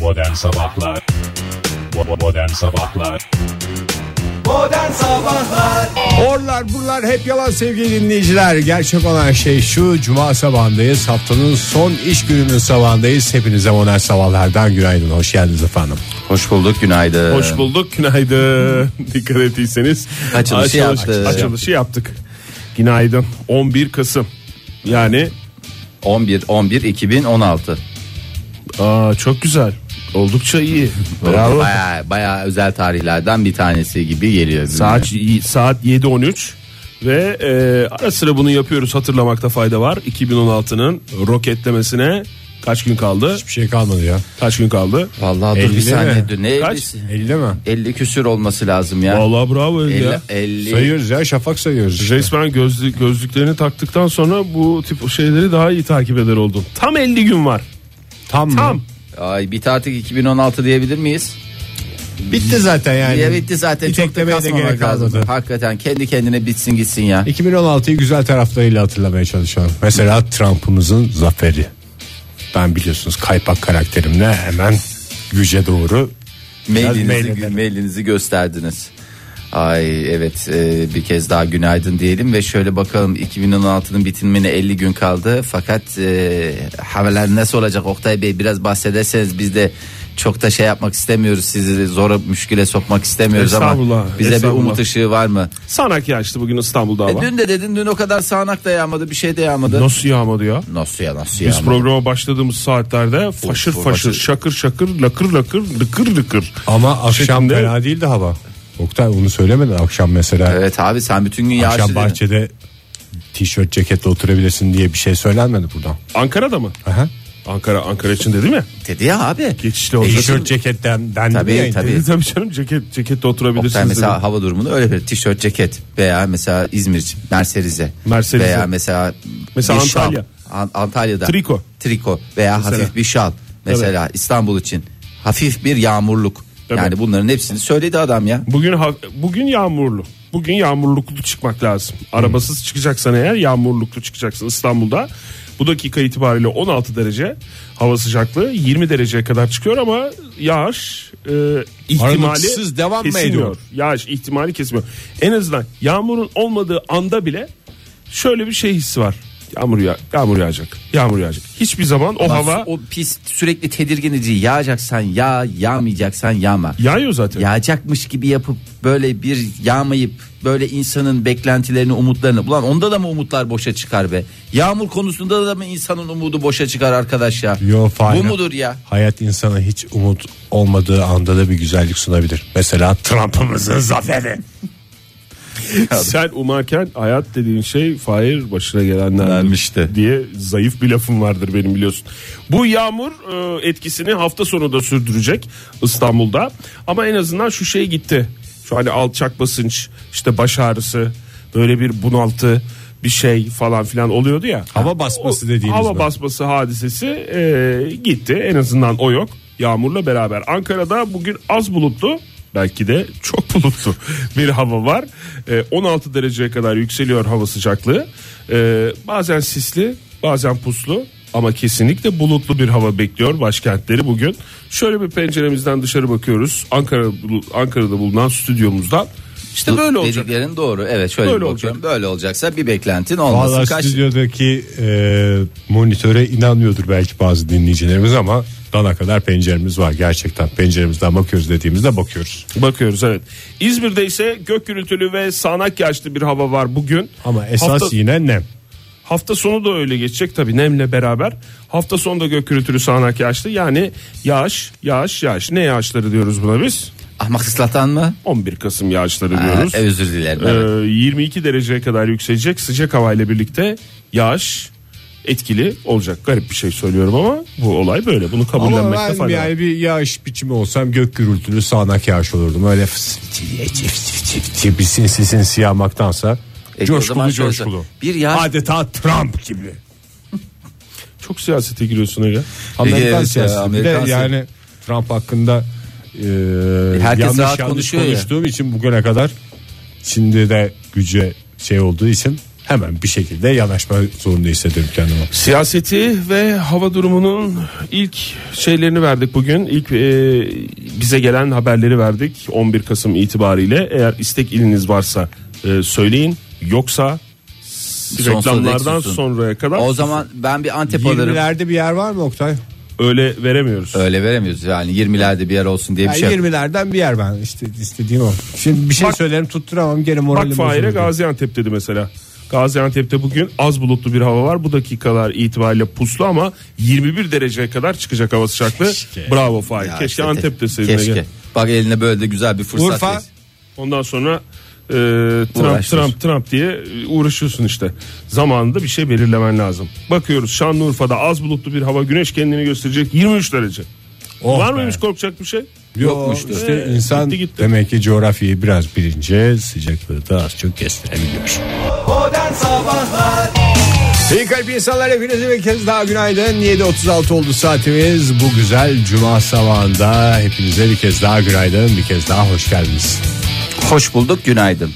Modern Sabahlar Bo- Modern Sabahlar Orlar buralar hep yalan sevgili dinleyiciler. Gerçek olan şey şu cuma sabahındayız. Haftanın son iş gününün sabahındayız. Hepinize modern sabahlardan günaydın. Hoş geldiniz efendim. Hoş bulduk günaydın. Hoş bulduk günaydın. Dikkat ettiyseniz Açılışı açılış- yaptık. açılışı yaptık. Günaydın. 11 Kasım. Yani 11 11 2016. aa, çok güzel. Oldukça iyi. Bravo. Baya baya özel tarihlerden bir tanesi gibi geliyor. Saat saat 7.13 ve e, ara sıra bunu yapıyoruz hatırlamakta fayda var. 2016'nın roketlemesine kaç gün kaldı? Bir şey kalmadı ya. Kaç gün kaldı? Vallahi dur 50 bir saniye mi? dur. Ne Kaç? 50'si? 50 mi? 50 küsür olması lazım ya. Vallahi bravo 50, ya. 50. Sayıyoruz ya şafak sayıyoruz. işte. Resmen gözlü, gözlüklerini taktıktan sonra bu tip şeyleri daha iyi takip eder oldum. Tam 50 gün var. Tam mı? Tam. Ay bir tatil 2016 diyebilir miyiz? Bitti zaten yani. Diye bitti zaten Bir çok da teklemeye de gerek kasmamak lazım. kalmadı. Hakikaten kendi kendine bitsin gitsin ya. 2016'yı güzel taraflarıyla hatırlamaya çalışalım. Mesela Trump'ımızın zaferi. Ben biliyorsunuz kaypak karakterimle hemen güce doğru biraz mail Mailinizi, edelim. mailinizi gösterdiniz. Ay evet e, bir kez daha günaydın diyelim ve şöyle bakalım 2016'nın bitimine 50 gün kaldı. Fakat e, haberler nasıl olacak Oktay Bey biraz bahsederseniz biz de çok da şey yapmak istemiyoruz sizi zora müşküle sokmak istemiyoruz ama Estağfurullah, bize bir estağfurullah. umut ışığı var mı? Sanak yağıştı bugün İstanbul'da E, hava. dün de dedin dün o kadar sağanak da yağmadı bir şey de yağmadı. Nasıl, Nasıl yağmadı ya? ya nasıl Biz yağmadı? programa başladığımız saatlerde faşır of, faşır, faşır. şakır şakır, lakır lakır, lıkır lıkır. Ama akşam Şeklinde. fena değildi hava. Oktay onu söylemedin akşam mesela. Evet abi sen bütün gün yağışlı Akşam dedin. bahçede tişört ceketle oturabilirsin diye bir şey söylenmedi buradan. Ankara'da mı? Aha. Ankara Ankara için dedi mi? Dedi ya abi. Geçişli oldu. E, Tişört ceketten dendi Tabii, mi yayında? tabii. Dedi tabii canım ceket cekette Oktay oturabilirsiniz mesela dedi. hava durumunu öyle bir tişört ceket veya mesela İzmir için Merseriz'e Merserize. veya mesela Mesela bir şal. Antalya. An- Antalya'da Triko. triko veya Mesela. hafif bir şal mesela İstanbul için hafif bir yağmurluk Tabii. yani bunların hepsini söyledi adam ya Bugün ha- bugün yağmurlu. Bugün yağmurluklu çıkmak lazım. Arabasız çıkacaksan eğer yağmurluklu çıkacaksın İstanbul'da. Bu dakika itibariyle 16 derece hava sıcaklığı 20 dereceye kadar çıkıyor ama yağış e, ihtimali Aralıksız devam mı kesilmiyor. ediyor? Yağış ihtimali kesmiyor. En azından yağmurun olmadığı anda bile şöyle bir şey hissi var. Yağmur ya yağmur yağacak. Yağmur yağacak. Hiçbir zaman o hava o pis sürekli tedirgin edici yağacaksan yağ yağmayacaksan yağma yağıyor zaten. yağacakmış gibi yapıp böyle bir yağmayıp böyle insanın beklentilerini umutlarını ulan onda da mı umutlar boşa çıkar be yağmur konusunda da mı insanın umudu boşa çıkar arkadaş ya Yo, fare. bu mudur ya Hayat insana hiç umut olmadığı anda da bir güzellik sunabilir. Mesela Trump'ımızın zaferi. Sen umarken hayat dediğin şey Fahir başına Gelmişti. gelenlermişti diye zayıf bir lafım vardır benim biliyorsun. Bu yağmur e, etkisini hafta sonu da sürdürecek İstanbul'da ama en azından şu şey gitti. Şu hani alçak basınç işte baş ağrısı böyle bir bunaltı bir şey falan filan oluyordu ya. Hava basması dediğimiz Hava mi? basması hadisesi e, gitti en azından o yok yağmurla beraber. Ankara'da bugün az bulutlu belki de çok bulutlu bir hava var. E, 16 dereceye kadar yükseliyor hava sıcaklığı. E, bazen sisli bazen puslu ama kesinlikle bulutlu bir hava bekliyor başkentleri bugün. Şöyle bir penceremizden dışarı bakıyoruz. Ankara Ankara'da bulunan stüdyomuzdan. İşte böyle olacak. Dediklerin doğru. Evet şöyle Böyle bir bakıyorum. Böyle olacaksa bir beklentin olmasın. Valla Kaç... stüdyodaki e, monitöre inanmıyordur belki bazı dinleyicilerimiz ama dana kadar penceremiz var gerçekten. Penceremizden bakıyoruz dediğimizde bakıyoruz. Bakıyoruz evet. İzmir'de ise gök gürültülü ve sağanak yağışlı bir hava var bugün. Ama esas hafta, yine nem. hafta sonu da öyle geçecek tabii nemle beraber. Hafta sonu da gök gürültülü sağanak yağışlı. Yani yağış, yağış, yağış. Ne yağışları diyoruz buna biz? Ahmak ıslatan mı? 11 Kasım yağışları Ha, e, diyoruz. özür dilerim. Ee, evet. 22 dereceye kadar yükselecek sıcak havayla birlikte yağış etkili olacak. Garip bir şey söylüyorum ama bu olay böyle. Bunu Ama kabullenmekte ben fayda var. yani bir yağış biçimi olsam gök gürültülü sağanak yağış olurdum. Öyle fıs- diye cif cif cif diye bir sinsi sinsi yağmaktansa E, o zaman coşkulu şöyle coşkulu. söyle. Bir yağış- Adeta Trump gibi. Çok siyasete giriyorsun Ege. Amerikan evet, siyaseti. ya, Bir de Amerikan siyaseti. yani Trump hakkında e, Herkes yanlış rahat yanlış konuşuyor ya. konuştuğum için bugüne kadar şimdi de güce şey olduğu için hemen bir şekilde yanaşma zorunda hissediyorum kendimi. Siyaseti ve hava durumunun ilk şeylerini verdik bugün. İlk e, bize gelen haberleri verdik 11 Kasım itibariyle. Eğer istek iliniz varsa e, söyleyin. Yoksa Sonsuza dek reklamlardan susun. sonraya kadar O zaman ben bir Antep alırım. 20'lerde bir yer var mı Oktay? öyle veremiyoruz. Öyle veremiyoruz yani 20'lerde bir yer olsun diye bir Yani şey. yok. 20'lerden bir yer ben işte istediğim o. Şimdi bir şey Bak- söylerim tutturamam gene Bak moralim Fahir'e bozuldu. Gaziantep dedi mesela. Gaziantep'te bugün az bulutlu bir hava var. Bu dakikalar itibariyle puslu ama 21 dereceye kadar çıkacak hava sıcaklığı. Keşke. Bravo Fahir. Ya keşke işte, Antep deseydin. Ege. Keşke. Bak eline böyle de güzel bir fırsat. Urfa verirsin. Ondan sonra e, Trump Uğraştır. Trump Trump diye uğraşıyorsun işte. Zamanında bir şey belirlemen lazım. Bakıyoruz Şanlıurfa'da az bulutlu bir hava güneş kendini gösterecek 23 derece. Oh var be. mıymış korkacak bir şey? Yokmuştur. İşte Ee, insan gitti gitti. demek ki coğrafyayı biraz bilince sıcaklığı da az çok kestirebiliyor. İyi kalp insanlar hepinize bir kez daha günaydın. 7.36 oldu saatimiz. Bu güzel cuma sabahında hepinize bir kez daha günaydın. Bir kez daha hoş geldiniz. Hoş bulduk günaydın.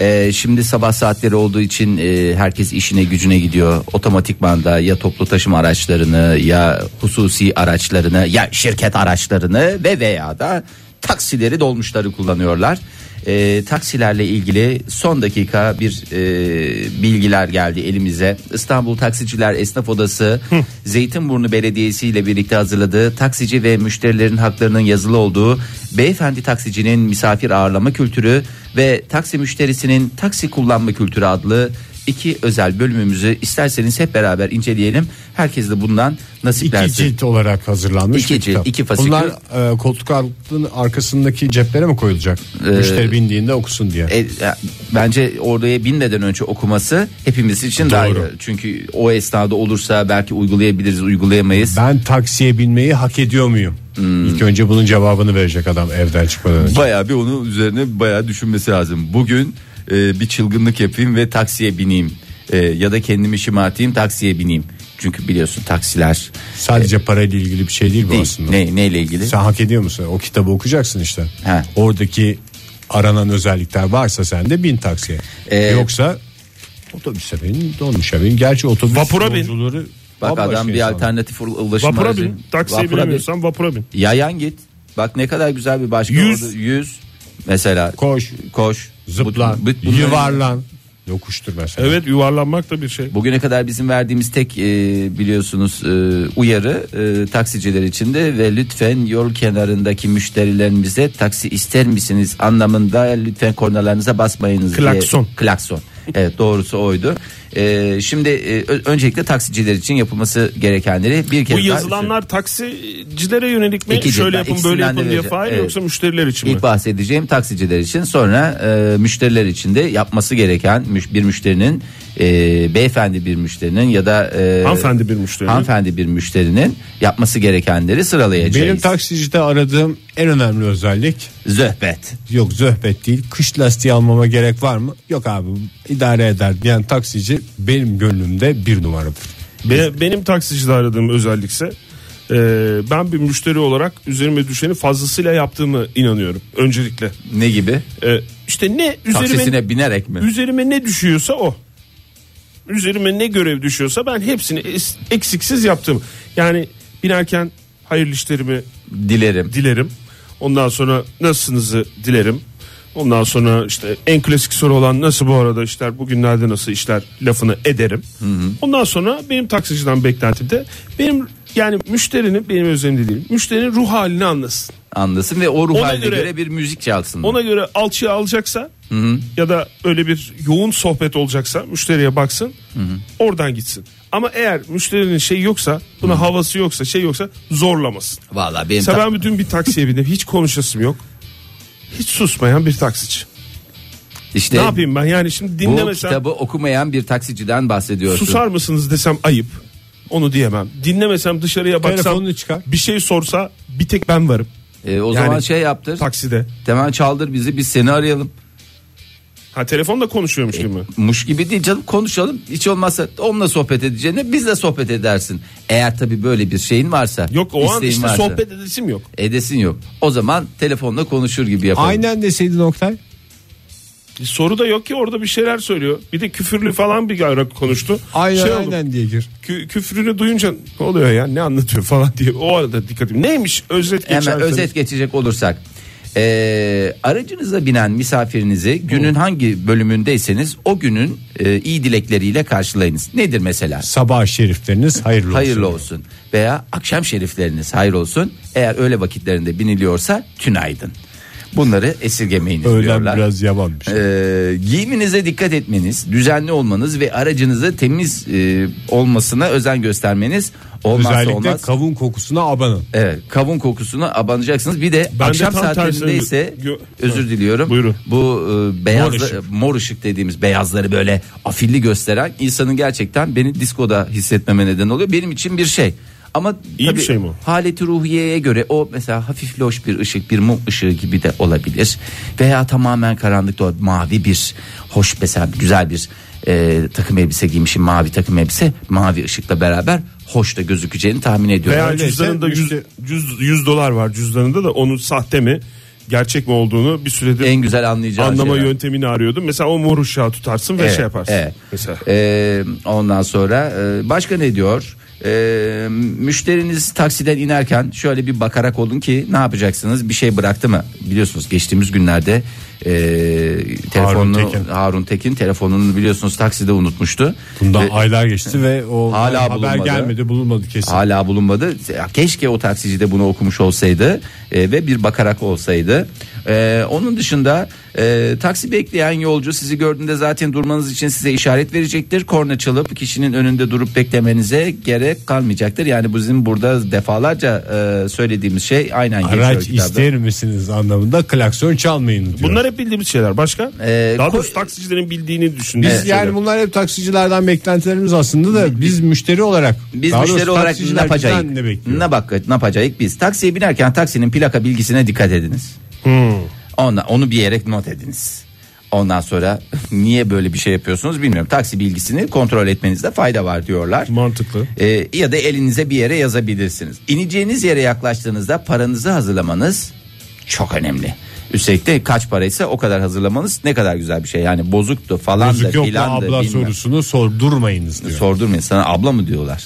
Ee, şimdi sabah saatleri olduğu için e, herkes işine gücüne gidiyor. Otomatikman da ya toplu taşıma araçlarını ya hususi araçlarını ya şirket araçlarını ve veya da taksileri dolmuşları kullanıyorlar. Ee, taksilerle ilgili son dakika bir e, bilgiler geldi elimize. İstanbul Taksiciler Esnaf Odası Zeytinburnu Belediyesi ile birlikte hazırladığı taksici ve müşterilerin haklarının yazılı olduğu Beyefendi Taksicinin misafir ağırlama kültürü ve taksi müşterisinin taksi kullanma kültürü adlı iki özel bölümümüzü isterseniz hep beraber inceleyelim. Herkes de bundan İki nasiplensin. cilt olarak hazırlanmış İki bir cilt, kitap. iki fasikül. Bunlar e, koltuk altının arkasındaki ceplere mi koyulacak? Ee, Müşteri bindiğinde okusun diye. E, ya, bence oraya binmeden önce okuması hepimiz için daha iyi. Çünkü o esnada olursa belki uygulayabiliriz, uygulayamayız. ben taksiye binmeyi hak ediyor muyum? Hmm. İlk önce bunun cevabını verecek adam evden çıkmadan önce. Bayağı bir onu üzerine bayağı düşünmesi lazım. Bugün e, bir çılgınlık yapayım ve taksiye bineyim. E, ya da kendimi şımartayım taksiye bineyim. Çünkü biliyorsun taksiler Sadece parayla ilgili bir şey değil bu değil. aslında. Ne, neyle ilgili? Sen hak ediyor musun? O kitabı okuyacaksın işte. He. Oradaki aranan özellikler varsa sen de bin taksiye. Ee, Yoksa otobüse bin, dolmuşa bin. Gerçi otobüs Vapura bin. yolcuları Bak bambaşka adam bir insanlar. alternatif ulaşım Vapura aracı. bin. Taksiye Vapura bin. binemiyorsan vapura bin. Yayan git. Bak ne kadar güzel bir başka Yüz. oldu. Yüz. Mesela Koş, koş. zıpla, Bu- bu- bunların- yuvarlan. Yokuştur mesela. Evet yuvarlanmak da bir şey. Bugüne kadar bizim verdiğimiz tek e, biliyorsunuz e, uyarı e, taksiciler için de ve lütfen yol kenarındaki müşterilerimize taksi ister misiniz anlamında lütfen kornalarınıza basmayınız Klakson. diye. Klakson. Evet doğrusu oydu. E, şimdi e, ö- öncelikle taksiciler için yapılması gerekenleri bir kez Bu daha yazılanlar taksicilere yönelik mi? İki Şöyle ciltler, yapın ikisinden böyle yapın de diye vereceğim. Fahir Evet. yoksa müşteriler için mi? İlk bahsedeceğim taksiciler için sonra e, müşteriler için de yapması gereken müş- bir müşterinin e, beyefendi bir müşterinin ya da e, Hanımefendi bir müşterinin. hanımefendi bir müşterinin yapması gerekenleri sıralayacağız. Benim taksicide aradığım en önemli özellik Zöhbet. yok zöhbet değil kış lastiği almama gerek var mı? Yok abi idare eder diyen taksici benim gönlümde bir numaradır. Be- benim taksicide aradığım özellikse e, ben bir müşteri olarak üzerime düşeni fazlasıyla yaptığımı inanıyorum. Öncelikle Ne gibi? e, işte ne üzerime, Taksisine binerek mi? üzerime ne düşüyorsa o. Üzerime ne görev düşüyorsa ben hepsini es- eksiksiz yaptım. Yani binerken hayırlı işlerimi Dilerim. dilerim. Ondan sonra nasılsınızı dilerim. Ondan sonra işte en klasik soru olan nasıl bu arada işler bugünlerde nasıl işler lafını ederim. Ondan sonra benim taksiciden beklentim de benim yani müşterinin benim özelimde değil müşterinin ruh halini anlasın. Anlasın ve o ruh Ona haline göre, göre- bir müzik çalsın. Ona göre alçıya alacaksa ya da öyle bir yoğun sohbet olacaksa müşteriye baksın oradan gitsin. Ama eğer müşterinin şey yoksa buna havası yoksa şey yoksa zorlamasın. Vallahi benim Mesela ta- ben bütün bir taksiye bindim. Hiç konuşasım yok. Hiç susmayan bir taksici. işte ne yapayım ben yani şimdi bu dinlemesem kitabı okumayan bir taksiciden bahsediyorsun. susar mısınız desem ayıp. Onu diyemem. Dinlemesem dışarıya baksam Telefonunu çıkar. bir şey sorsa bir tek ben varım E, o Yani- zaman şey yaptır. takside. Hemen çaldır bizi biz seni arayalım. Ha telefonda konuşuyormuş E, gibi mi? Muş gibi değil canım konuşalım. Hiç olmazsa onunla sohbet edeceğine bizle sohbet edersin. Eğer tabii böyle bir şeyin varsa. Yok o an isteğin işte varsa. sohbet edesim yok. Edesin yok. O zaman telefonla konuşur gibi yapalım. Aynen deseydin Oktay. E, Soru da yok ki orada bir şeyler söylüyor. Bir de küfürlü falan bir ara konuştu. Aynen Şey oldu, aynen diye gir. kü- küfrünü duyunca ne oluyor ya ne anlatıyor falan diye o arada dikkatim. Neymiş özet geçer. Hemen özet geçecek olursak. Ee, aracınıza binen misafirinizi günün hangi bölümündeyseniz o günün e, iyi dilekleriyle karşılayınız. Nedir mesela? Sabah şerifleriniz hayırlı olsun. Hayırlı olsun veya akşam şerifleriniz hayır olsun. Eğer öğle vakitlerinde biniliyorsa tünaydın. Bunları esirgemeyiniz Öğlen diyorlar. biraz şey. yabanmış. Ee, giyiminize dikkat etmeniz, düzenli olmanız ve aracınızı temiz e, olmasına özen göstermeniz olmazsa Özellikle olmaz. kavun kokusuna abanın. Evet, kavun kokusuna abanacaksınız. Bir de Ben de akşam tam saatlerinde tersi- ise Gö- özür diliyorum. Buyurun. Bu e, beyaz mor Mor ışık. ışık. dediğimiz beyazları böyle afilli gösteren insanın gerçekten beni diskoda hissetmeme neden oluyor. Benim için bir şey. Ama İyi bir şey mi o? Haleti ruhiyeye göre o mesela hafif loş bir ışık, bir mum ışığı gibi de olabilir. Veya tamamen karanlıkta o mavi bir hoş mesela güzel bir e, takım elbise giymişim mavi takım elbise mavi ışıkla beraber hoş da gözükeceğini tahmin ediyorum. Veya Öyleyse cüzdanında 100, müşteri- 100, 100 dolar var cüzdanında da onun sahte mi gerçek mi olduğunu bir süredir en güzel anlayacağı anlama şeyler. yöntemini arıyordum. Mesela o mor uşağı tutarsın ve Evet, şey yaparsın. evet. Mesela. Ee, ondan sonra e, başka ne diyor? Ee, müşteriniz taksiden inerken şöyle bir bakarak olun ki ne yapacaksınız? Bir şey bıraktı mı? Biliyorsunuz geçtiğimiz günlerde e, telefonunu Harun Tekin. Tekin. telefonunu biliyorsunuz takside unutmuştu. Bundan Ve aylar geçti ve o E, Hala haber bulunmadı. gelmedi bulunmadı kesin. Hala bulunmadı. Keşke o taksici de bunu okumuş olsaydı e, ve bir bakarak olsaydı. E, onun dışında e, taksi bekleyen yolcu sizi gördüğünde zaten durmanız için size işaret verecektir. Korna çalıp kişinin önünde durup beklemenize gerek kalmayacaktır. Yani bizim burada defalarca e, söylediğimiz şey aynen geçiyor Araç kitapta. ister misiniz anlamında klakson çalmayın diyor. Bunlar hep bildiğimiz şeyler. Başka? Ee, Daha ko- doğrusu taksicilerin bildiğini düşündüğüm Biz şeyler. E, yani bunlar hep taksicilerden beklentilerimiz aslında da biz müşteri olarak Biz daha doğrusu müşteri olarak ne taksiciler yapacağız? bizden ne bekliyor? Ne bak ne yapacağız biz? Taksiye binerken taksinin plaka bilgisine dikkat ediniz. Hmm. Ona onu bir yere not ediniz. Ondan sonra niye böyle bir şey yapıyorsunuz bilmiyorum. Taksi bilgisini kontrol etmenizde fayda var diyorlar. Mantıklı. Ee, ya da elinize bir yere yazabilirsiniz. İneceğiniz yere yaklaştığınızda paranızı hazırlamanız çok önemli. Üstelik de kaç paraysa o kadar hazırlamanız ne kadar güzel bir şey. Yani bozuktu falan Bozuk da yok da filan da abla bilmem. sorusunu sordurmayınız diyor. Sordurmayın sana abla mı diyorlar.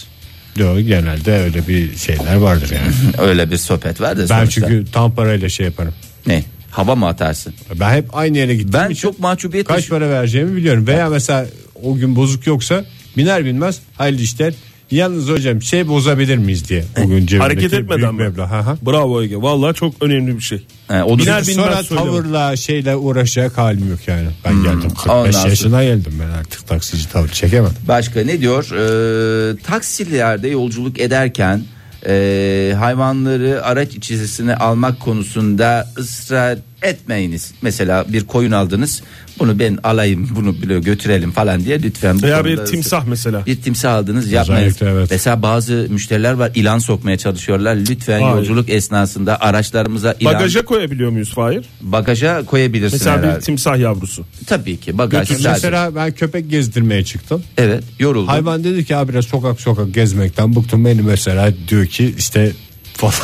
diyor. Genelde öyle bir şeyler vardır yani. Öyle bir sohbet var da ben sonuçta. çünkü tam parayla şey yaparım. Ne? Hava mı atarsın? Ben hep aynı yere gittim. Ben çok mahcubiyet kaç yaşıyorum. para vereceğimi biliyorum. Veya mesela o gün bozuk yoksa biner binmez hayırlı işler. Yalnız hocam şey bozabilir miyiz diye o gün cebimdeki Hareket büyük etmeden mi? meblağ. Hı hı. Bravo Ege. Vallahi çok önemli bir şey. He, o da- Biner Çünkü binmez Hmm. sonra söylüyorum. tavırla şeyle uğraşacak halim yok yani. Ben geldim 45 ondan sonra- yaşına geldim ben artık taksici tavır çekemem. Başka ne diyor? Ee, taksilerde yolculuk ederken e, hayvanları araç içerisine almak konusunda ısrar etmeyiniz. Mesela bir koyun aldınız. Bunu ben alayım, bunu bile götürelim falan diye lütfen. bu Veya bir konuda- timsah mesela. Bir timsah aldınız yapmayın. Özellikle evet. Mesela bazı müşteriler var ilan sokmaya çalışıyorlar. Lütfen Hayır. yolculuk esnasında araçlarımıza ilan Bagaja koyabiliyor muyuz Fahir? bagaja koyabilirsin Mesela herhalde. bir timsah yavrusu. Tabii ki bagaj. Götürdüm. sadece- Mesela ben köpek gezdirmeye çıktım. Evet yoruldum. Hayvan dedi ki abi biraz sokak sokak gezmekten bıktım. Beni mesela diyor ki işte falan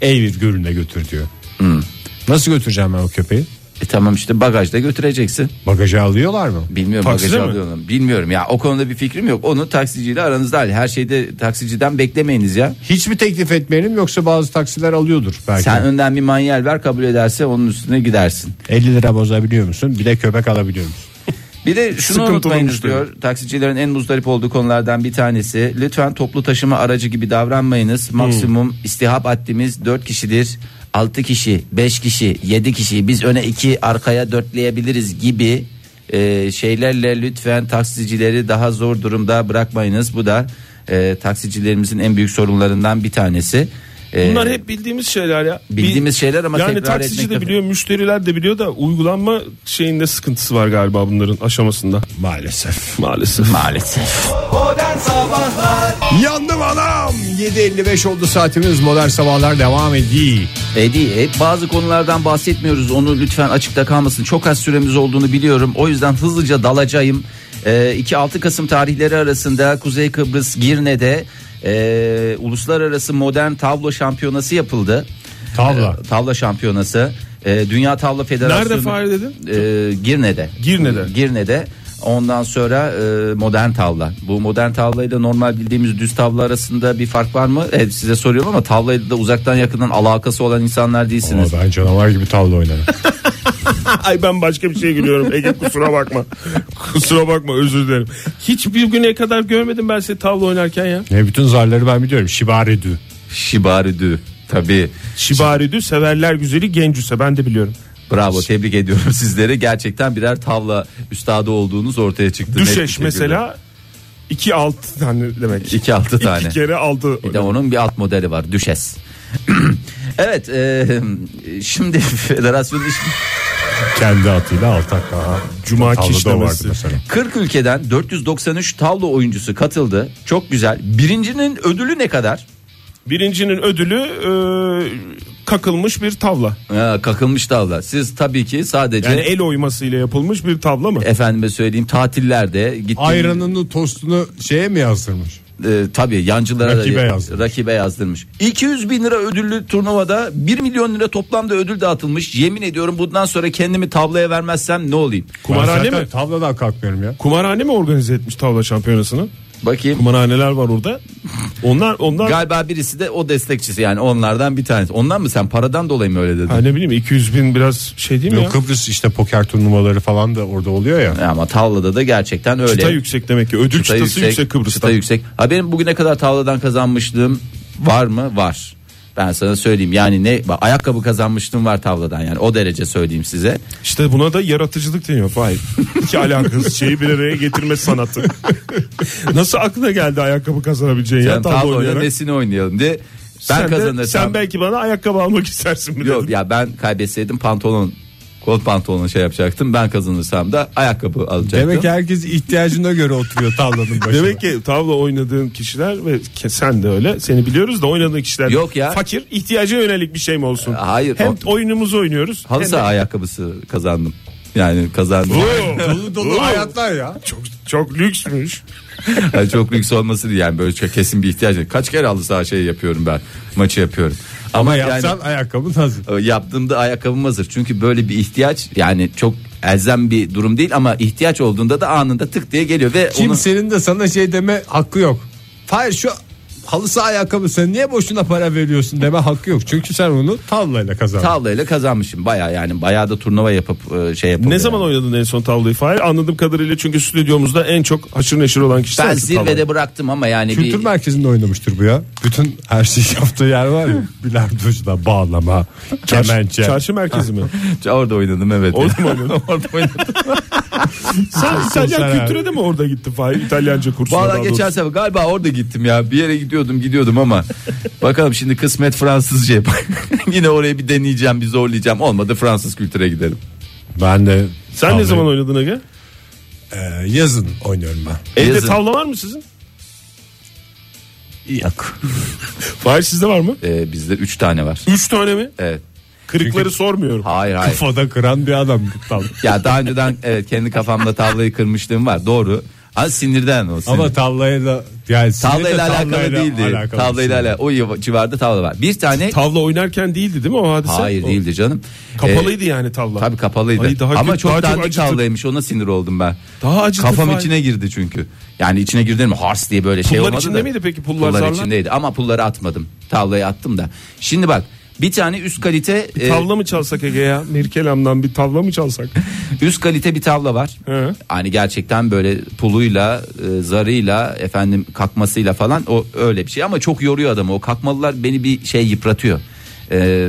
Eyvir Gölü'ne götür diyor. Hmm. Nasıl götüreceğim ben o köpeği? E tamam işte bagajda götüreceksin. Bagaja alıyorlar mı? Bilmiyorum Takside bagajı mi? alıyorlar mı? Bilmiyorum ya o konuda bir fikrim yok. Onu taksiciyle aranızda hal. Her şeyde taksiciden beklemeyiniz ya. Hiç mi teklif etmeyelim yoksa bazı taksiler alıyordur belki. Sen önden bir manyel ver kabul ederse onun üstüne gidersin. 50 lira bozabiliyor musun? Bir de köpek alabiliyor musun? Bir de şunu Sıkıntılı unutmayınız müşteri. diyor. Taksicilerin en muzdarip olduğu konulardan bir tanesi. Lütfen toplu taşıma aracı gibi Hmm. davranmayınız. Maksimum istihap haddimiz 4 kişidir. 6 kişi, 5 kişi, 7 kişi biz öne 2 arkaya 4'leyebiliriz gibi e, şeylerle lütfen taksicileri daha zor durumda bırakmayınız. Bu da e, taksicilerimizin en büyük sorunlarından bir tanesi. E, Bunlar hep bildiğimiz şeyler ya. Bir- bildiğimiz şeyler ama yani tekrar taksici de etmekte- biliyor, müşteriler de biliyor da uygulanma şeyinde sıkıntısı var galiba bunların aşamasında. Maalesef. Maalesef. maalesef. Yandım anam. 7.55 oldu saatimiz. Modern sabahlar devam ediyor. Edi, hep bazı konulardan bahsetmiyoruz. Onu lütfen açıkta kalmasın. Çok az süremiz olduğunu biliyorum. O yüzden hızlıca dalacağım. Ee, 2-6 Kasım tarihleri arasında Kuzey Kıbrıs Girne'de e, uluslararası modern tavlo şampiyonası yapıldı. Tavla. Ee, tavla şampiyonası. E, Dünya Tavla Federasyonu. Nerede Fahri dedin? E, Girne'de. Girne'de. Girne'de. Ondan sonra e, modern tavla. Bu modern tavlayla normal bildiğimiz düz tavla arasında bir fark var mı? Hep size soruyorum ama tavlayla da uzaktan yakından alakası olan insanlar Ama değilsiniz. ben canavar gibi tavla oynarım. Ay ben başka bir şey gülüyorum Ege kusura bakma. kusura bakma özür dilerim. Hiçbir güne kadar görmedim ben seni tavla oynarken ya. ne bütün zarları ben biliyorum. Şibari dü. Şibaridü. Tabii. Şibaridü severler güzeli Gencüse ben de biliyorum. Bravo tebrik ediyorum sizlere. Gerçekten birer tavla üstadı olduğunuz ortaya çıktı. Net bir Düşeş şekilde. mesela iki alt tane demek. İki altı tane. İki kere aldı. Bir de onun bir alt modeli var. Düşes. evet. e, şimdi federasyon iş... Kendi atıyla altak. Aha. Cuma Tavla da kişnemesi. vardı mesela. 40 ülkeden 493 tavla oyuncusu katıldı. Çok güzel. Birincinin ödülü ne kadar? Birincinin ödülü e, kakılmış bir tavla. Ha, kakılmış tavla. Siz tabii ki sadece Yani e- el oymasıyla yapılmış bir tavla mı? efendime söyleyeyim tatillerde gittiğiniz Ayranını tostunu şeye mi yazdırmış? e, tabii yancılara Rakibe da- yazdırmış. rakibe yazdırmış. 200 bin lira ödüllü turnuvada 1 milyon lira toplamda ödül dağıtılmış. Yemin ediyorum bundan sonra kendimi tavlaya vermezsem ne olayım? Kumarhane Ben zaten mi? Tavladan kalkmıyorum ya. Kumarhane mi organize etmiş tavla şampiyonasını? Bakayım. Kumarhaneler var orada. Onlar onlar Galiba birisi de o destekçisi yani onlardan bir tanesi. Ondan mı sen paradan dolayı mı öyle dedin? ha, ne bileyim 200 bin biraz şey değil mi Yok, ya? Kıbrıs işte poker turnuvaları falan da orada oluyor ya. Ama tavlada da gerçekten öyle. Çıta yüksek demek ki. Ödül Çıta çıtası yüksek, Kıbrıs'ta. çıta yüksek. Ha benim bugüne kadar tavladan kazanmışlığım var mı? Var. Ben sana söyleyeyim yani ne bak, ayakkabı kazanmışlığım var tavladan yani o derece söyleyeyim size. İşte buna da yaratıcılık deniyor Fahir. İki alakasız şeyi bir araya getirme sanatı. Nasıl aklına geldi ayakkabı kazanabileceğin ya Yani tavla tavlayla oynayarak? nesini Ee, oynayalım diye. Ben sen, de, kazanırsam. sen belki bana ayakkabı almak istersin mi Yok dedim. ya ben kaybetseydim pantolon kol pantolonu şey yapacaktım. Ben kazanırsam da ayakkabı alacaktım. Demek ki herkes ihtiyacına göre oturuyor tavlanın başına. Demek ki tavla oynadığın kişiler ve ke- sen de öyle seni biliyoruz da oynadığın kişiler Yok ya. Ee, fakir ihtiyaca yönelik bir şey mi olsun? Hayır, Hem o- oyunumuzu oynuyoruz. Halı hem de- saha ayakkabısı kazandım. Yani kazandım. Oo, dolu dolu oo. hayatlar ya. Çok, çok lüksmüş. Yani çok lüks olması değil yani böyle çok kesin bir ihtiyaç. yok. Kaç kere halı saha şey yapıyorum ben. Maçı yapıyorum. Ama, Ama yani yapsan ayakkabın hazır. e, yaptığımda ayakkabım hazır. Çünkü böyle bir ihtiyaç yani çok elzem bir durum değil ama ihtiyaç olduğunda da anında tık diye geliyor ve onu- Kimsenin de sana şey deme hakkı yok. Hayır şu halı saha ayakkabısını niye boşuna para veriyorsun deme hakkı yok. Çünkü sen onu tavlayla kazandın. tavlayla kazanmışım. Baya yani bayağı da turnuva yapıp e, şey yapıp. Ne zaman oynadın en son tavlayı Fahir? Anladığım kadarıyla çünkü stüdyomuzda en çok haşır neşir olan kişi ben sensin tavlayı. zirvede bıraktım ama yani Kültür bir merkezinde oynamıştır bu ya. Bütün her şey yaptığı yer var ya. Bilardocuda bağlama, kemençe. Çarşı merkezi mi? orada oynadım evet. Orada mı oynadın? Orada oynadım. Sen İtalyan Sosyal kültüre de mi orada gittin Fahir? İtalyanca kursuna Valla daha doğrusu. geçen sefer galiba orada gittim ya. Bir yere gidiyordum gidiyordum ama bakalım şimdi kısmet Fransızca yapar. Yine oraya bir deneyeceğim bir zorlayacağım. Olmadı Fransız kültüre gidelim. Ben de Sen ne tavlayı- zaman oynadın Ege? Ee, yazın oynuyorum ben. Evde Yazın. tavla var mı sizin? Yok. Fahir sizde var mı? Ee, bizde 3 tane var. Üç tane mi? Evet. Kırıkları sormuyorum. Hayır hayır. Kafada kıran bir adam tavla. ya daha önceden evet kendi kafamda tavlayı kırmışlığım var. Doğru. Az sinirden o sinir. Ama tavlayla da yani sinirle Tavlayla alakalı değildi. alakalı. Tavlayla alakalı. O yav- civarda tavla var. Bir tane Tavla oynarken değildi değil mi o hadise? Hayır O- değildi canım. Ee, Kapalıydı yani tavla. Tabii kapalıydı. Ay, daha Ama kötü, çok daha çok dandik acıtır. tavlaymış. Ona sinir oldum ben. Daha acıtır Kafam Fahir. içine girdi çünkü. Yani içine girdi mi? Hars diye böyle şey Pullar olmadı içinde da. miydi peki? Pullar, zarlar? içindeydi ama pulları atmadım. Tavlayı attım da. Şimdi bak bir tane üst kalite e, Tavla mı çalsak Ege ya? Mirkelam'dan bir tavla mı çalsak? üst kalite bir tavla var. He. Hani gerçekten böyle puluyla, e, zarıyla, efendim kakmasıyla falan o öyle bir şey ama çok yoruyor adamı. O kakmalılar beni bir şey yıpratıyor. E,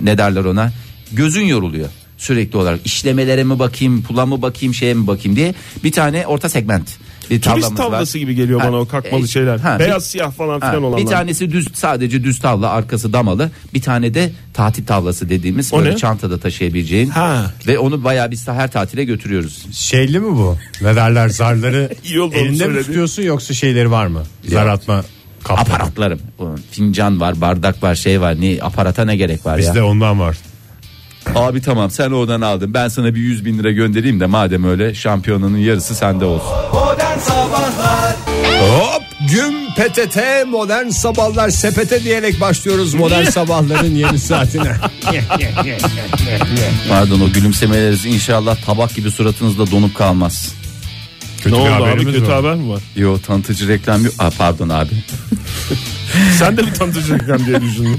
ne derler ona? Gözün yoruluyor sürekli olarak. işlemelere mi bakayım, pula mı bakayım, şeye mi bakayım diye bir tane orta segment bir Turist tavlamız var. tavlası gibi geliyor Ha, bana o kakmalı e, şeyler. ha, Beyaz bir- siyah falan Ha, filan olanlar. bir tanesi düz sadece düz tavla arkası damalı bir tane de tatil tavlası dediğimiz O böyle ne? çantada taşıyabileceğin Ha. ve onu bayağı biz her tatile götürüyoruz. Şeyli mi bu? Ne derler zarları İyi oldu onu elinde mi söyledin. tutuyorsun yoksa şeyleri var mı? Zar atma kapları. aparatlarım. Bunun Fincan var, bardak var, şey var. Ne aparata ne gerek var Bizde ya? ondan var. Abi tamam sen oradan aldın. Ben sana bir 100 bin lira göndereyim de madem öyle şampiyonanın yarısı sende olsun. Hop Güm PTT modern sabahlar sepete diyerek başlıyoruz modern sabahların yeni saatine. Pardon o gülümsemeleriniz inşallah tabak gibi suratınızda donup kalmaz. Kötü Ne bir oldu abi haberimiz kötü var. haber mi var? Yo tanıtıcı reklam yok. Aa, pardon abi. Sen de mi tanıtacaksın diye düşündüm.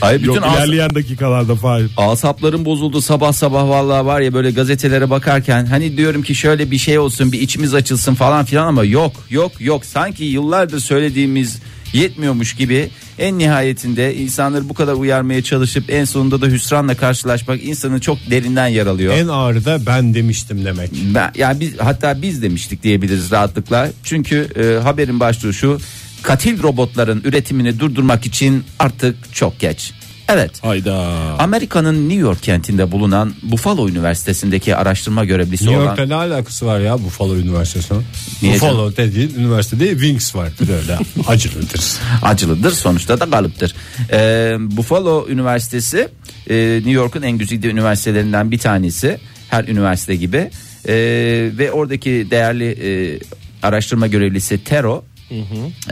Ay bütün Yok as- ilerleyen dakikalarda Fahir. asapların bozuldu sabah sabah vallahi var ya böyle gazetelere bakarken hani diyorum ki şöyle bir şey olsun bir içimiz açılsın falan filan ama yok yok yok sanki yıllardır söylediğimiz yetmiyormuş gibi en nihayetinde insanları bu kadar uyarmaya çalışıp en sonunda da hüsranla karşılaşmak insanı çok derinden yaralıyor. En ağırı da ben demiştim demek. Ben, yani biz hatta biz demiştik diyebiliriz rahatlıkla. Çünkü e, haberin başlığı şu. Katil robotların üretimini durdurmak için artık çok geç. Evet. Hayda. Amerika'nın New York kentinde bulunan Buffalo Üniversitesi'ndeki araştırma görevlisi New olan York'ta ne alakası var ya Buffalo Üniversitesi'nin? Niye Buffalo dediğin üniversitede Wings var. Bir de öyle acılıdır. acılıdır sonuçta da galiptir. Ee, Buffalo Üniversitesi e, New York'un en güzide üniversitelerinden bir tanesi her üniversite gibi Ee, ve oradaki değerli e, araştırma görevlisi Tero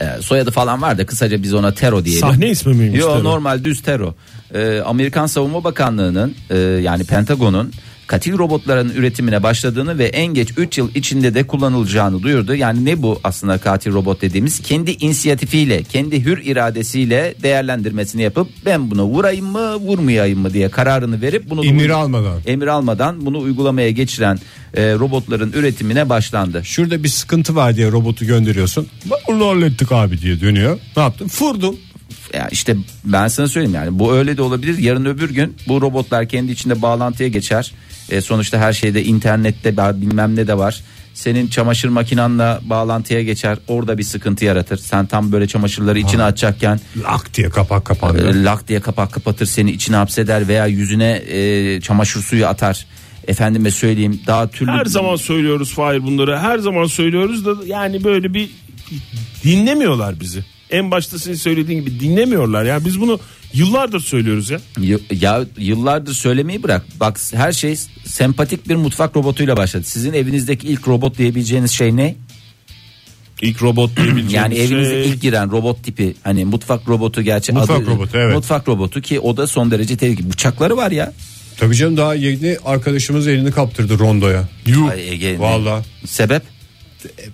e, soyadı falan var da kısaca biz ona Tero diyelim. Sahne ismi miymiş? Yo tabii? normal düz tero. Ee, Amerikan Savunma Bakanlığı'nın e, yani Pentagon'un katil robotların üretimine başladığını ve en geç 3 yıl içinde de kullanılacağını duyurdu. Yani ne bu aslında katil robot dediğimiz? Kendi inisiyatifiyle, kendi hür iradesiyle değerlendirmesini yapıp ben buna vurayım mı, vurmayayım mı diye kararını verip bunu da- Emir almadan. emir almadan bunu uygulamaya geçiren e, robotların üretimine başlandı. Şurada bir sıkıntı var diye robotu gönderiyorsun. Bak onu hallettik abi diye dönüyor. Ne yaptın? Furdum. ya işte ben sana söyleyeyim yani bu öyle de olabilir. Yarın öbür gün bu robotlar kendi içinde bağlantıya geçer. E, sonuçta her şeyde internette ba- bilmem ne de var. Senin çamaşır makinanla bağlantıya geçer. Orada bir sıkıntı yaratır. Sen tam böyle çamaşırları içine atacakken Lak diye kapak e, kapandı. lak diye kapak kapatır seni içine hapseder veya yüzüne e, çamaşır suyu atar. Efendime söyleyeyim daha türlü Her zaman söylüyoruz Fahir bunları. Her zaman söylüyoruz da yani böyle bir dinlemiyorlar bizi. En başta senin söylediğin gibi dinlemiyorlar. Ya biz bunu yıllardır söylüyoruz ya. Y- Ya yıllardır söylemeyi bırak. Bak her şey sempatik bir mutfak robotuyla başladı. Sizin evinizdeki ilk robot diyebileceğiniz şey ne? İlk robot diyebileceğimiz Yani şey. evinize ilk giren robot tipi hani mutfak robotu gerçi Mutfak adı robotu, evet. mutfak robotu ki o da son derece tehlikeli. Bıçakları var ya. Tabii canım daha yeni arkadaşımız elini kaptırdı rondoya. Yuh. Ay Ege, ne- Valla. Sebep?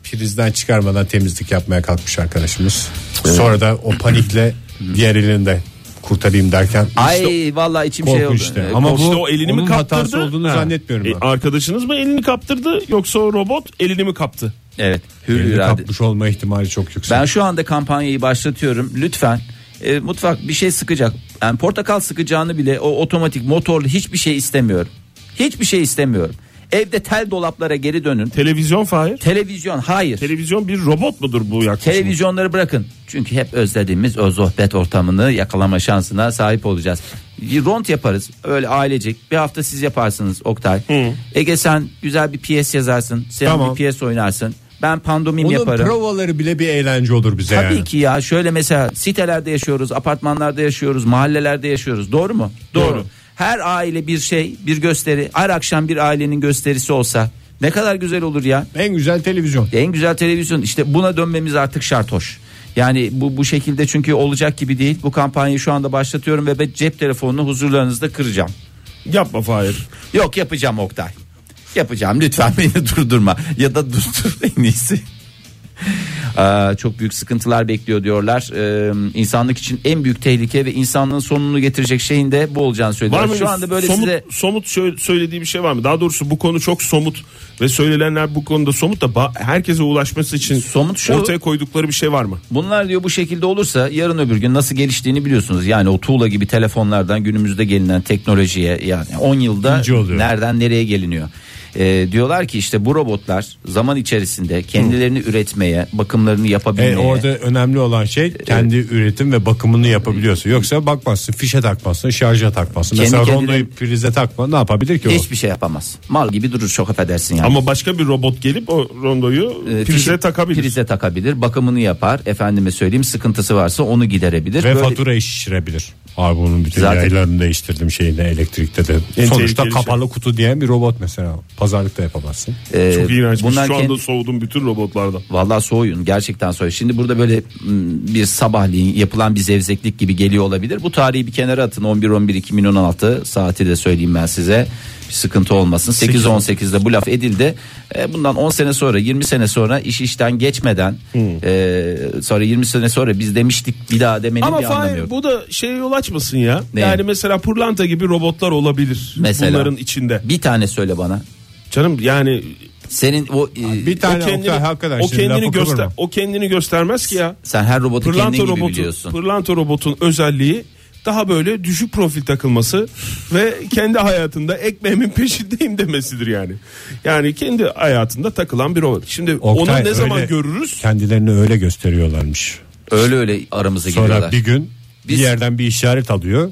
Prizden çıkarmadan temizlik yapmaya kalkmış arkadaşımız. Sonra da o panikle diğer elini de kurtarayım derken. Ay vallahi içim şey Korku oldu. işte. Ee, Ama korku- bu- İşte o elini onun mi kaptırdı? E, hatası olduğunu zannetmiyorum ben. arkadaşınız mı elini kaptırdı yoksa o robot elini mi kaptı? evet hür Elini irade. kapmış olma ihtimali çok yüksek. Ben şu anda kampanyayı başlatıyorum. Lütfen e, mutfak bir şey sıkacak. Yani portakal sıkacağını bile o otomatik motorlu hiçbir şey istemiyorum. Hiçbir şey istemiyorum. Evde tel dolaplara geri dönün. Televizyon Fahir. Televizyon hayır. Televizyon bir robot mudur bu yaklaşım? Televizyonları bırakın. Çünkü hep özlediğimiz o sohbet ortamını yakalama şansına sahip olacağız. Bir rond yaparız. Öyle ailecek. Bir hafta siz yaparsınız Oktay. Ege sen güzel bir piyes yazarsın. Sen Tamam. bir piyes oynarsın. Ben pandomim Onun yaparım. provaları bile bir eğlence olur bize Tabii yani. ki ya şöyle mesela sitelerde yaşıyoruz, apartmanlarda yaşıyoruz, mahallelerde yaşıyoruz. Doğru mu? Doğru. Her aile bir şey, bir gösteri. Her akşam bir ailenin gösterisi olsa ne kadar güzel olur ya. En güzel televizyon. En güzel televizyon işte buna dönmemiz artık şart hoş. Yani bu bu şekilde çünkü olacak gibi değil. Bu kampanyayı şu anda başlatıyorum ve ben cep telefonunu huzurlarınızda kıracağım. Yapma Fahir. Yok yapacağım Oktay. Yapacağım lütfen beni durdurma ya da durdur en iyisi. Aa, çok büyük sıkıntılar bekliyor diyorlar. Ee, insanlık için en büyük tehlike ve insanlığın sonunu getirecek şeyin de bu olacağını Var söylüyorlar. mı Şu anda böyle somut, size somut şö- söylediği bir şey var mı? Daha doğrusu bu konu çok somut ve söylenenler bu konuda somut da ba- herkese ulaşması için Somut şu- ortaya koydukları bir şey var mı? Bunlar diyor bu şekilde olursa yarın öbür gün nasıl geliştiğini biliyorsunuz. Yani o tuğla gibi telefonlardan günümüzde gelinen teknolojiye yani 10 yılda İnce oluyor. nereden nereye geliniyor. Ee, diyorlar ki işte bu robotlar zaman içerisinde kendilerini üretmeye, bakımlarını yapabilmeye. E, orada önemli olan şey kendi üretim ve bakımını yapabiliyorsun. Yoksa bakmazsın, fişe takmazsın, şarja takmazsın. Kendi Mesela kendine- rondoyu prize takma ne yapabilir ki o? Hiçbir şey yapamaz. Mal gibi durur çok affedersin yani. Ama başka bir robot gelip o rondoyu Ee, prize fişi- takabilir. Prize takabilir, bakımını yapar. Efendime söyleyeyim sıkıntısı varsa onu giderebilir. Ve Böyle- faturayı şişirebilir. Abi onun bütün Zaten- yaylarını değiştirdim şeyini elektrikte de. En Sonuçta tehlikeli kapalı kutu diyen bir robot mesela. Pazarlıkta yapamazsın. Ee, Çok iğrençmiş. bundan Şu anda kendi- soğudum bütün robotlardan. Vallahi soğuyun gerçekten soğuyun. Şimdi burada böyle m, bir sabahleyin yapılan bir zevzeklik gibi geliyor olabilir. Bu tarihi bir kenara atın 11-11-2016 saati de söyleyeyim ben size bir sıkıntı olmasın. 8-18'de bu laf edildi. E, Bundan 10 sene sonra 20 sene sonra iş işten geçmeden e, sonra 20 sene sonra biz demiştik bir daha demenin Ama bir anlamı Fahir yok. bu da şeye yol açmasın ya. Ne? Yani mesela pırlanta gibi robotlar olabilir. Mesela. Bunların içinde. Bir tane söyle bana. Canım yani Senin o e, Bir tane Oktay, hakikaten o şimdi kendini lafı kıvırma. göster o kendini göstermez ki ya. sen her robotu kendi Pırlanta gibi robotu biliyorsun. pırlanta robotun özelliği daha böyle düşük profil takılması ve kendi hayatında ekmeğimin peşindeyim demesidir yani. Yani kendi hayatında takılan bir robot. Şimdi Oktay, onu ne zaman öyle- görürüz? Kendilerini öyle gösteriyorlarmış. Öyle öyle aramıza Sonra giriyorlar. bir gün bir Biz- yerden bir işaret alıyor.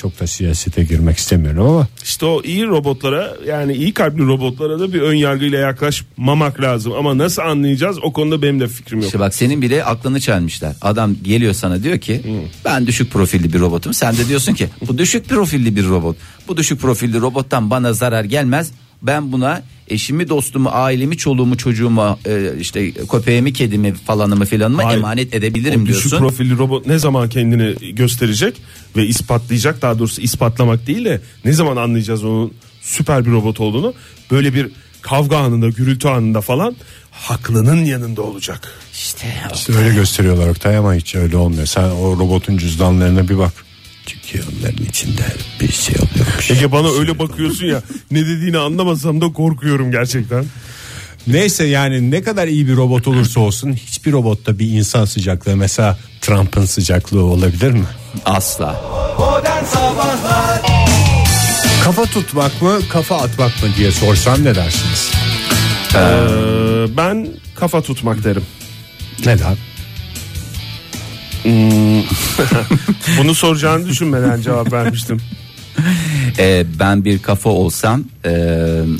Çok da siyasete girmek istemiyorum ama İşte o iyi robotlara yani iyi kalpli robotlara da bir ön yargıyla yaklaşmamak lazım. Ama nasıl anlayacağız o konuda benim de fikrim yok. İşte bak senin bile aklını çelmişler. Adam geliyor sana diyor ki ben düşük profilli bir robotum. Sen de diyorsun ki bu düşük profilli bir robot. Bu düşük profilli robottan bana zarar gelmez. Ben buna eşimi, dostumu, ailemi, çoluğumu, çocuğumu, e, işte köpeğimi, kedimi falanımı filanımı Hayır. emanet edebilirim O düşük diyorsun. profilli robot ne zaman kendini gösterecek ve ispatlayacak daha doğrusu ispatlamak değil de ne zaman anlayacağız onun süper bir robot olduğunu böyle bir kavga anında gürültü anında falan haklının yanında olacak. İşte işte öyle gösteriyorlar Oktay ama hiç öyle olmuyor. Sen o robotun cüzdanlarına bir bak. Çünkü onların içinde bir şey oluyormuş. Ege bana öyle bakıyorsun ya ne dediğini anlamasam da korkuyorum gerçekten. Neyse yani ne kadar iyi bir robot olursa olsun hiçbir robotta bir insan sıcaklığı mesela Trump'ın sıcaklığı olabilir mi? asla. Kafa tutmak mı kafa atmak mı diye sorsam ne dersiniz? Ee, ben kafa tutmak derim. Neden? Bunu soracağını düşünmeden cevap vermiştim. E, ben bir kafa olsam e,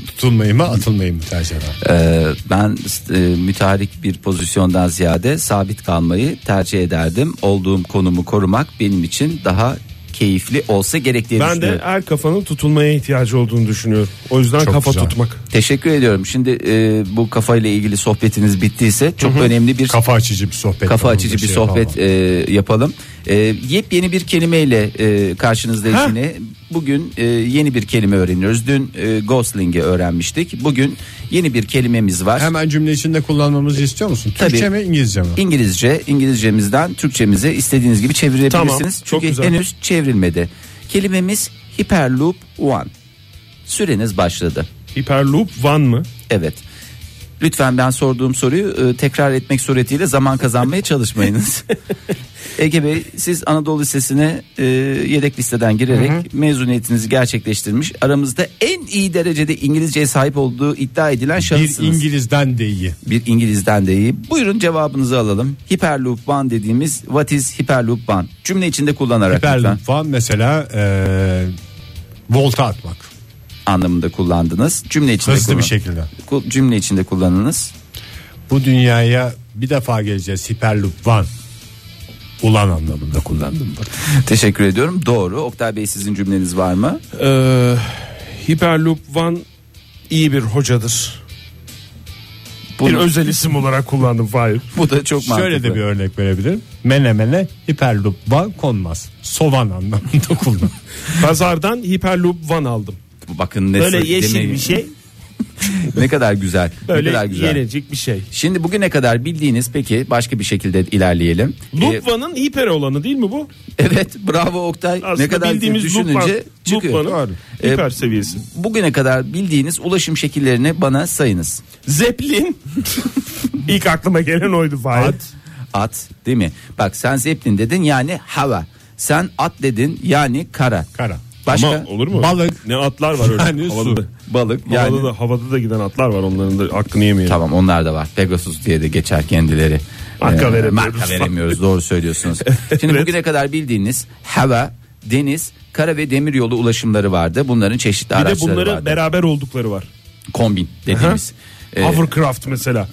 Tutulmayı mı atılmayı mı tercih eder? Ee, ben e, mütarik bir pozisyondan ziyade sabit kalmayı tercih ederdim. Olduğum konumu korumak benim için daha keyifli olsa gerek diye Ben de düşünüyorum. her kafanın tutulmaya ihtiyacı olduğunu düşünüyorum. O yüzden Çok kafa güzel. tutmak. Teşekkür ediyorum. Şimdi e, bu kafayla ilgili sohbetiniz bittiyse çok önemli bir Kafa açıcı bir sohbet. kafa yapalım, açıcı bir şey sohbet yapalım. e, yapalım. E, yepyeni bir kelimeyle e, karşınızdayız yine. Bugün e, yeni bir kelime öğreniyoruz. Dün e, Gosling'i öğrenmiştik. Bugün yeni bir kelimemiz var. Hemen cümle içinde kullanmamızı istiyor musun? Tabii. Türkçe mi İngilizce mi? İngilizce, İngilizcemizden Türkçemize istediğiniz gibi çevirebilirsiniz. Tamam, Çünkü çok güzel. henüz çevrilmedi. Kelimemiz Hyperloop One. Süreniz başladı. Hyperloop One mı? Evet. Lütfen ben sorduğum soruyu e, tekrar etmek suretiyle zaman kazanmaya çalışmayınız. Ege Bey siz Anadolu Lisesi'ne e, yedek listeden girerek mezuniyetinizi gerçekleştirmiş. Aramızda en iyi derecede İngilizceye sahip olduğu iddia edilen Bir şahısınız. İngiliz'den de iyi. Bir İngiliz'den de iyi. Buyurun cevabınızı alalım. Hyperloop One dediğimiz what is Hyperloop One? Cümle içinde kullanarak lütfen. Hyperloop One mesela e, volta atmak. anlamında kullandınız. Cümle içinde Hızlı bir kullan- şekilde. Ku- Cümle içinde kullanınız. Bu dünyaya bir defa geleceğiz Hyperloop One. Ulan anlamında kullandım. Teşekkür ediyorum. Doğru. Oktay Bey sizin cümleniz var mı? Ee, Hyperloop One iyi bir hocadır. Bunu- Bir özel isim olarak kullandım Fahir. bu da çok mantıklı. Şöyle de bir örnek verebilirim. Mene mene Hyperloop One konmaz. Sovan anlamında kullan. Pazardan Hyperloop One aldım. Bakın ne Böyle sır- yeşil demeyin. bir şey, ne kadar güzel. ne böyle kadar güzel. yenecek bir şey. Şimdi bugüne kadar bildiğiniz peki başka bir şekilde ilerleyelim. Ee, Loop One'ın hiper olanı değil mi bu? evet bravo Oktay. Aslında ne kadar bildiğimiz Loop One, düşününce Loop çıkıyor. One'ın Ee, hiper seviyesi. Bugüne kadar bildiğiniz ulaşım şekillerini bana sayınız. Zeppelin ilk aklıma gelen oydu Fahir. At değil mi? Bak sen zeplin dedin yani hava. Sen at dedin yani kara. Kara. Başka Ama olur mu? Balık. Ne atlar var öyle. Yani havada, su. da, balık yani. havada, da, havada da giden atlar var onların da hakkını yemeyelim. Tamam onlar da var. Pegasus diye de geçer kendileri. Ee, Marka veremiyoruz. marka veremiyoruz. Doğru söylüyorsunuz. Şimdi bugüne kadar bildiğiniz hava, deniz, kara ve demir yolu ulaşımları vardı. Bunların çeşitli Bir araçları de bunların vardı. beraber oldukları var. Kombin dediğimiz. Ee, Hovercraft mesela.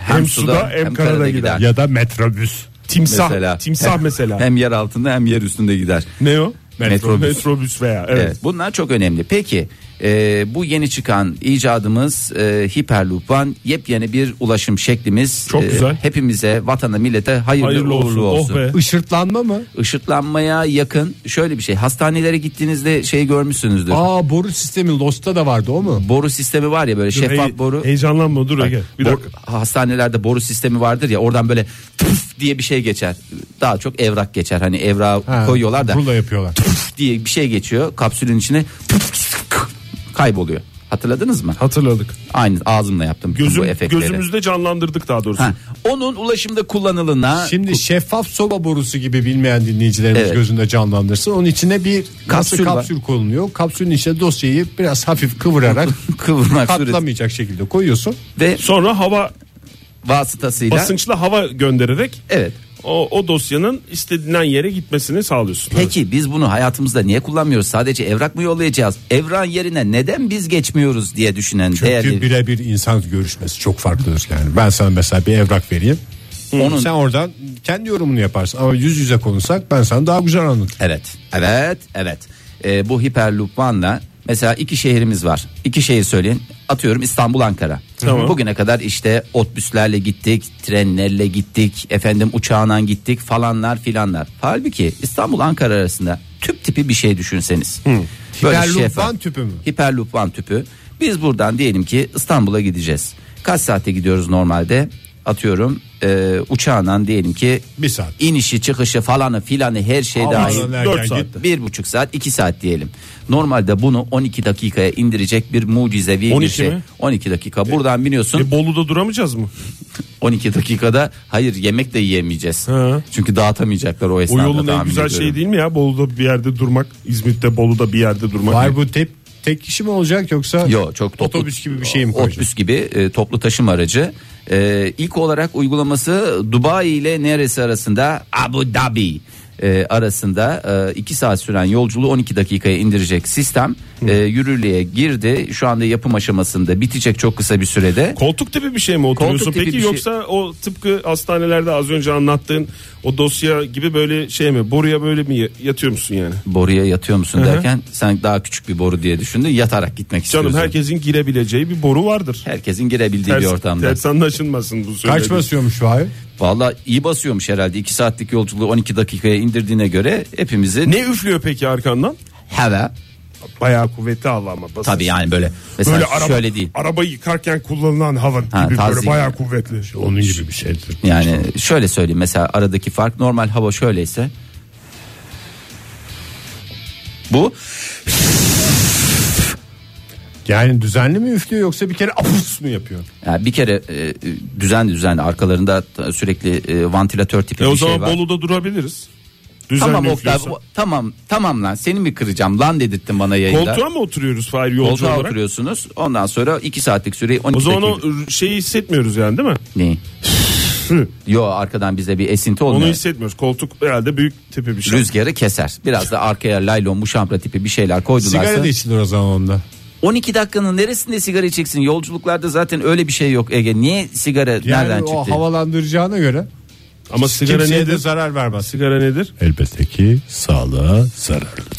Hem, suda hem, karada gider. Ya da metrobüs. Timsah. mesela. Timsah mesela. Hem yer altında hem yer üstünde gider. Ne o? Metrobüs. Metrobüs veya evet. Evet, bunlar çok önemli. Peki e, bu yeni çıkan icadımız e, Hyperloop One yepyeni bir ulaşım şeklimiz. e, Çok güzel. Hepimize, vatana, millete hayırlı, Hayırlı uğurlu olsun. olsun. Oh be. Işırtlanma mı? Işıklanmaya yakın şöyle bir şey. Hastanelere gittiğinizde şey görmüşsünüzdür. Aa boru sistemi Lost'ta da vardı o mu? Boru sistemi var ya böyle şeffaf Hey- boru. Heyecanlanma dur Ege. Bir Bor- dakika. hastanelerde boru sistemi vardır ya oradan böyle püf diye bir şey geçer. Daha çok evrak geçer. Hani evrağı Ha, koyuyorlar da Rulo yapıyorlar. püf diye bir şey geçiyor. Kapsülün içine püf, kayboluyor. Hatırladınız mı? Hatırladık. Aynı ağzımla yaptım bütün bu Gözüm, efektleri. gözümüzde canlandırdık daha doğrusu. Ha, onun ulaşımda kullanılına Şimdi şeffaf soba borusu gibi bilmeyen dinleyicilerimiz Evet. gözünde canlandırsın. Onun içine bir kapsül Kapsül var. kapsül konuluyor. Kapsülün içine dosyayı biraz hafif kıvırarak kıvırmak sureti- katlamayacak şekilde koyuyorsun. ve Sonra hava vasıtasıyla basınçla hava göndererek evet. o, o dosyanın istediğinden yere gitmesini sağlıyorsun. Peki biz bunu hayatımızda niye kullanmıyoruz? Sadece evrak mı yollayacağız? Evran yerine neden biz geçmiyoruz diye düşünen Çünkü değerli birebir insan görüşmesi çok farklıdır yani. Ben sana mesela bir evrak vereyim. Onun- Sen oradan kendi yorumunu yaparsın ama yüz yüze konuşsak ben sana daha güzel anlatırım. Evet, evet, evet. Ee, bu Hyperloop One'la mesela iki şehrimiz var. İki şehir söyleyin. Atıyorum İstanbul, Ankara. Tamam. Bugüne kadar işte otobüslerle gittik, trenlerle gittik, efendim uçağla gittik falanlar filanlar. Halbuki İstanbul, Ankara arasında tüp tipi bir şey düşünseniz. Hyperloop şeffaf. One tüpü mü? Hyperloop One tüpü. Biz buradan diyelim ki İstanbul'a gideceğiz. Kaç saatte gidiyoruz normalde? Atıyorum e, uçağla diyelim ki Bir saat. inişi çıkışı falanı filanı her şey Aman dahil. Allah'ım, dört erken saat. git. Bir buçuk saat iki saat diyelim. Normalde bunu 12 dakikaya indirecek bir mucizevi bir 12 şey. mi? 12 dakika buradan biniyorsun E, Bolu'da duramayacağız mı? 12 dakikada hayır yemek de yiyemeyeceğiz. Hı. Çünkü dağıtamayacaklar o O esnada. yolun en tahmin güzel ediyorum. şeyi değil mi ya? Bolu'da bir yerde durmak, İzmit'te Bolu'da bir yerde durmak. Var bu tep, tek kişi mi olacak yoksa Yo, çok toplu- otobüs gibi bir şey mi koyacaksın? Otobüs gibi e, toplu taşıma aracı. E, ilk olarak uygulaması Dubai ile neresi arasında? Abu Dhabi e, arasında 2 saat süren yolculuğu 12 dakikaya indirecek sistem e, yürürlüğe girdi. Şu anda yapım aşamasında bitecek çok kısa bir sürede. Koltuk tipi bir şey mi oturuyorsun Koltuk tipi peki bir şey. yoksa o tıpkı hastanelerde az önce anlattığın o dosya gibi böyle şey mi boruya böyle mi ya- yatıyor musun yani? Boruya yatıyor musun derken sen daha küçük bir boru diye düşündün yatarak gitmek istiyorsun. Canım herkesin girebileceği bir boru vardır. Herkesin girebildiği bir Ters, ortamda. ters anlaşılmasın bu Kaç söylediğim. basıyormuş abi? Valla iyi basıyormuş herhalde 2 saatlik yolculuğu 12 dakikaya indirdiğine göre hepimizi Ne üflüyor peki arkandan? hava Bayağı kuvvetli hava ama basınç. Tabii yani böyle. Mesela Böyle araba, şöyle değil. araba yıkarken kullanılan hava gibi taze böyle gibi. bayağı kuvvetli. Onun gibi bir şey. şeydir. Yani şöyle söyleyeyim mesela aradaki fark normal hava şöyleyse bu Yani düzenli mi üflüyor yoksa bir kere apus mu yapıyor? yani bir kere e, düzenli düzenli arkalarında t- sürekli e, vantilatör tipi E bir o şey zaman var. Bolu'da durabiliriz. Düzenli Tamam Oktay üflüyorsa. o- tamam tamam lan seni mi kıracağım lan dedirttin bana yayında. Koltuğa mı oturuyoruz Fahir yolcu Koltuğa olarak? oturuyorsunuz ondan sonra 2 saatlik süreyi 12 O zaman o dakika. şeyi hissetmiyoruz yani değil mi? Neyi? Yo arkadan bize bir esinti Onu olmuyor. hissetmiyoruz. Koltuk herhalde büyük tipi bir şey. Rüzgarı keser. Biraz da arkaya laylon muşambra tipi bir şeyler koydularsa. Sigara da içilir o zaman onda. 12 dakikanın neresinde sigara içeceksin? Yolculuklarda zaten öyle bir şey yok Ege. Niye sigara Yani nereden o çıktı? havalandıracağına göre Ama sigara kimseye nedir? de zarar vermez. Sigara nedir? Elbette ki sağlığa zararlı.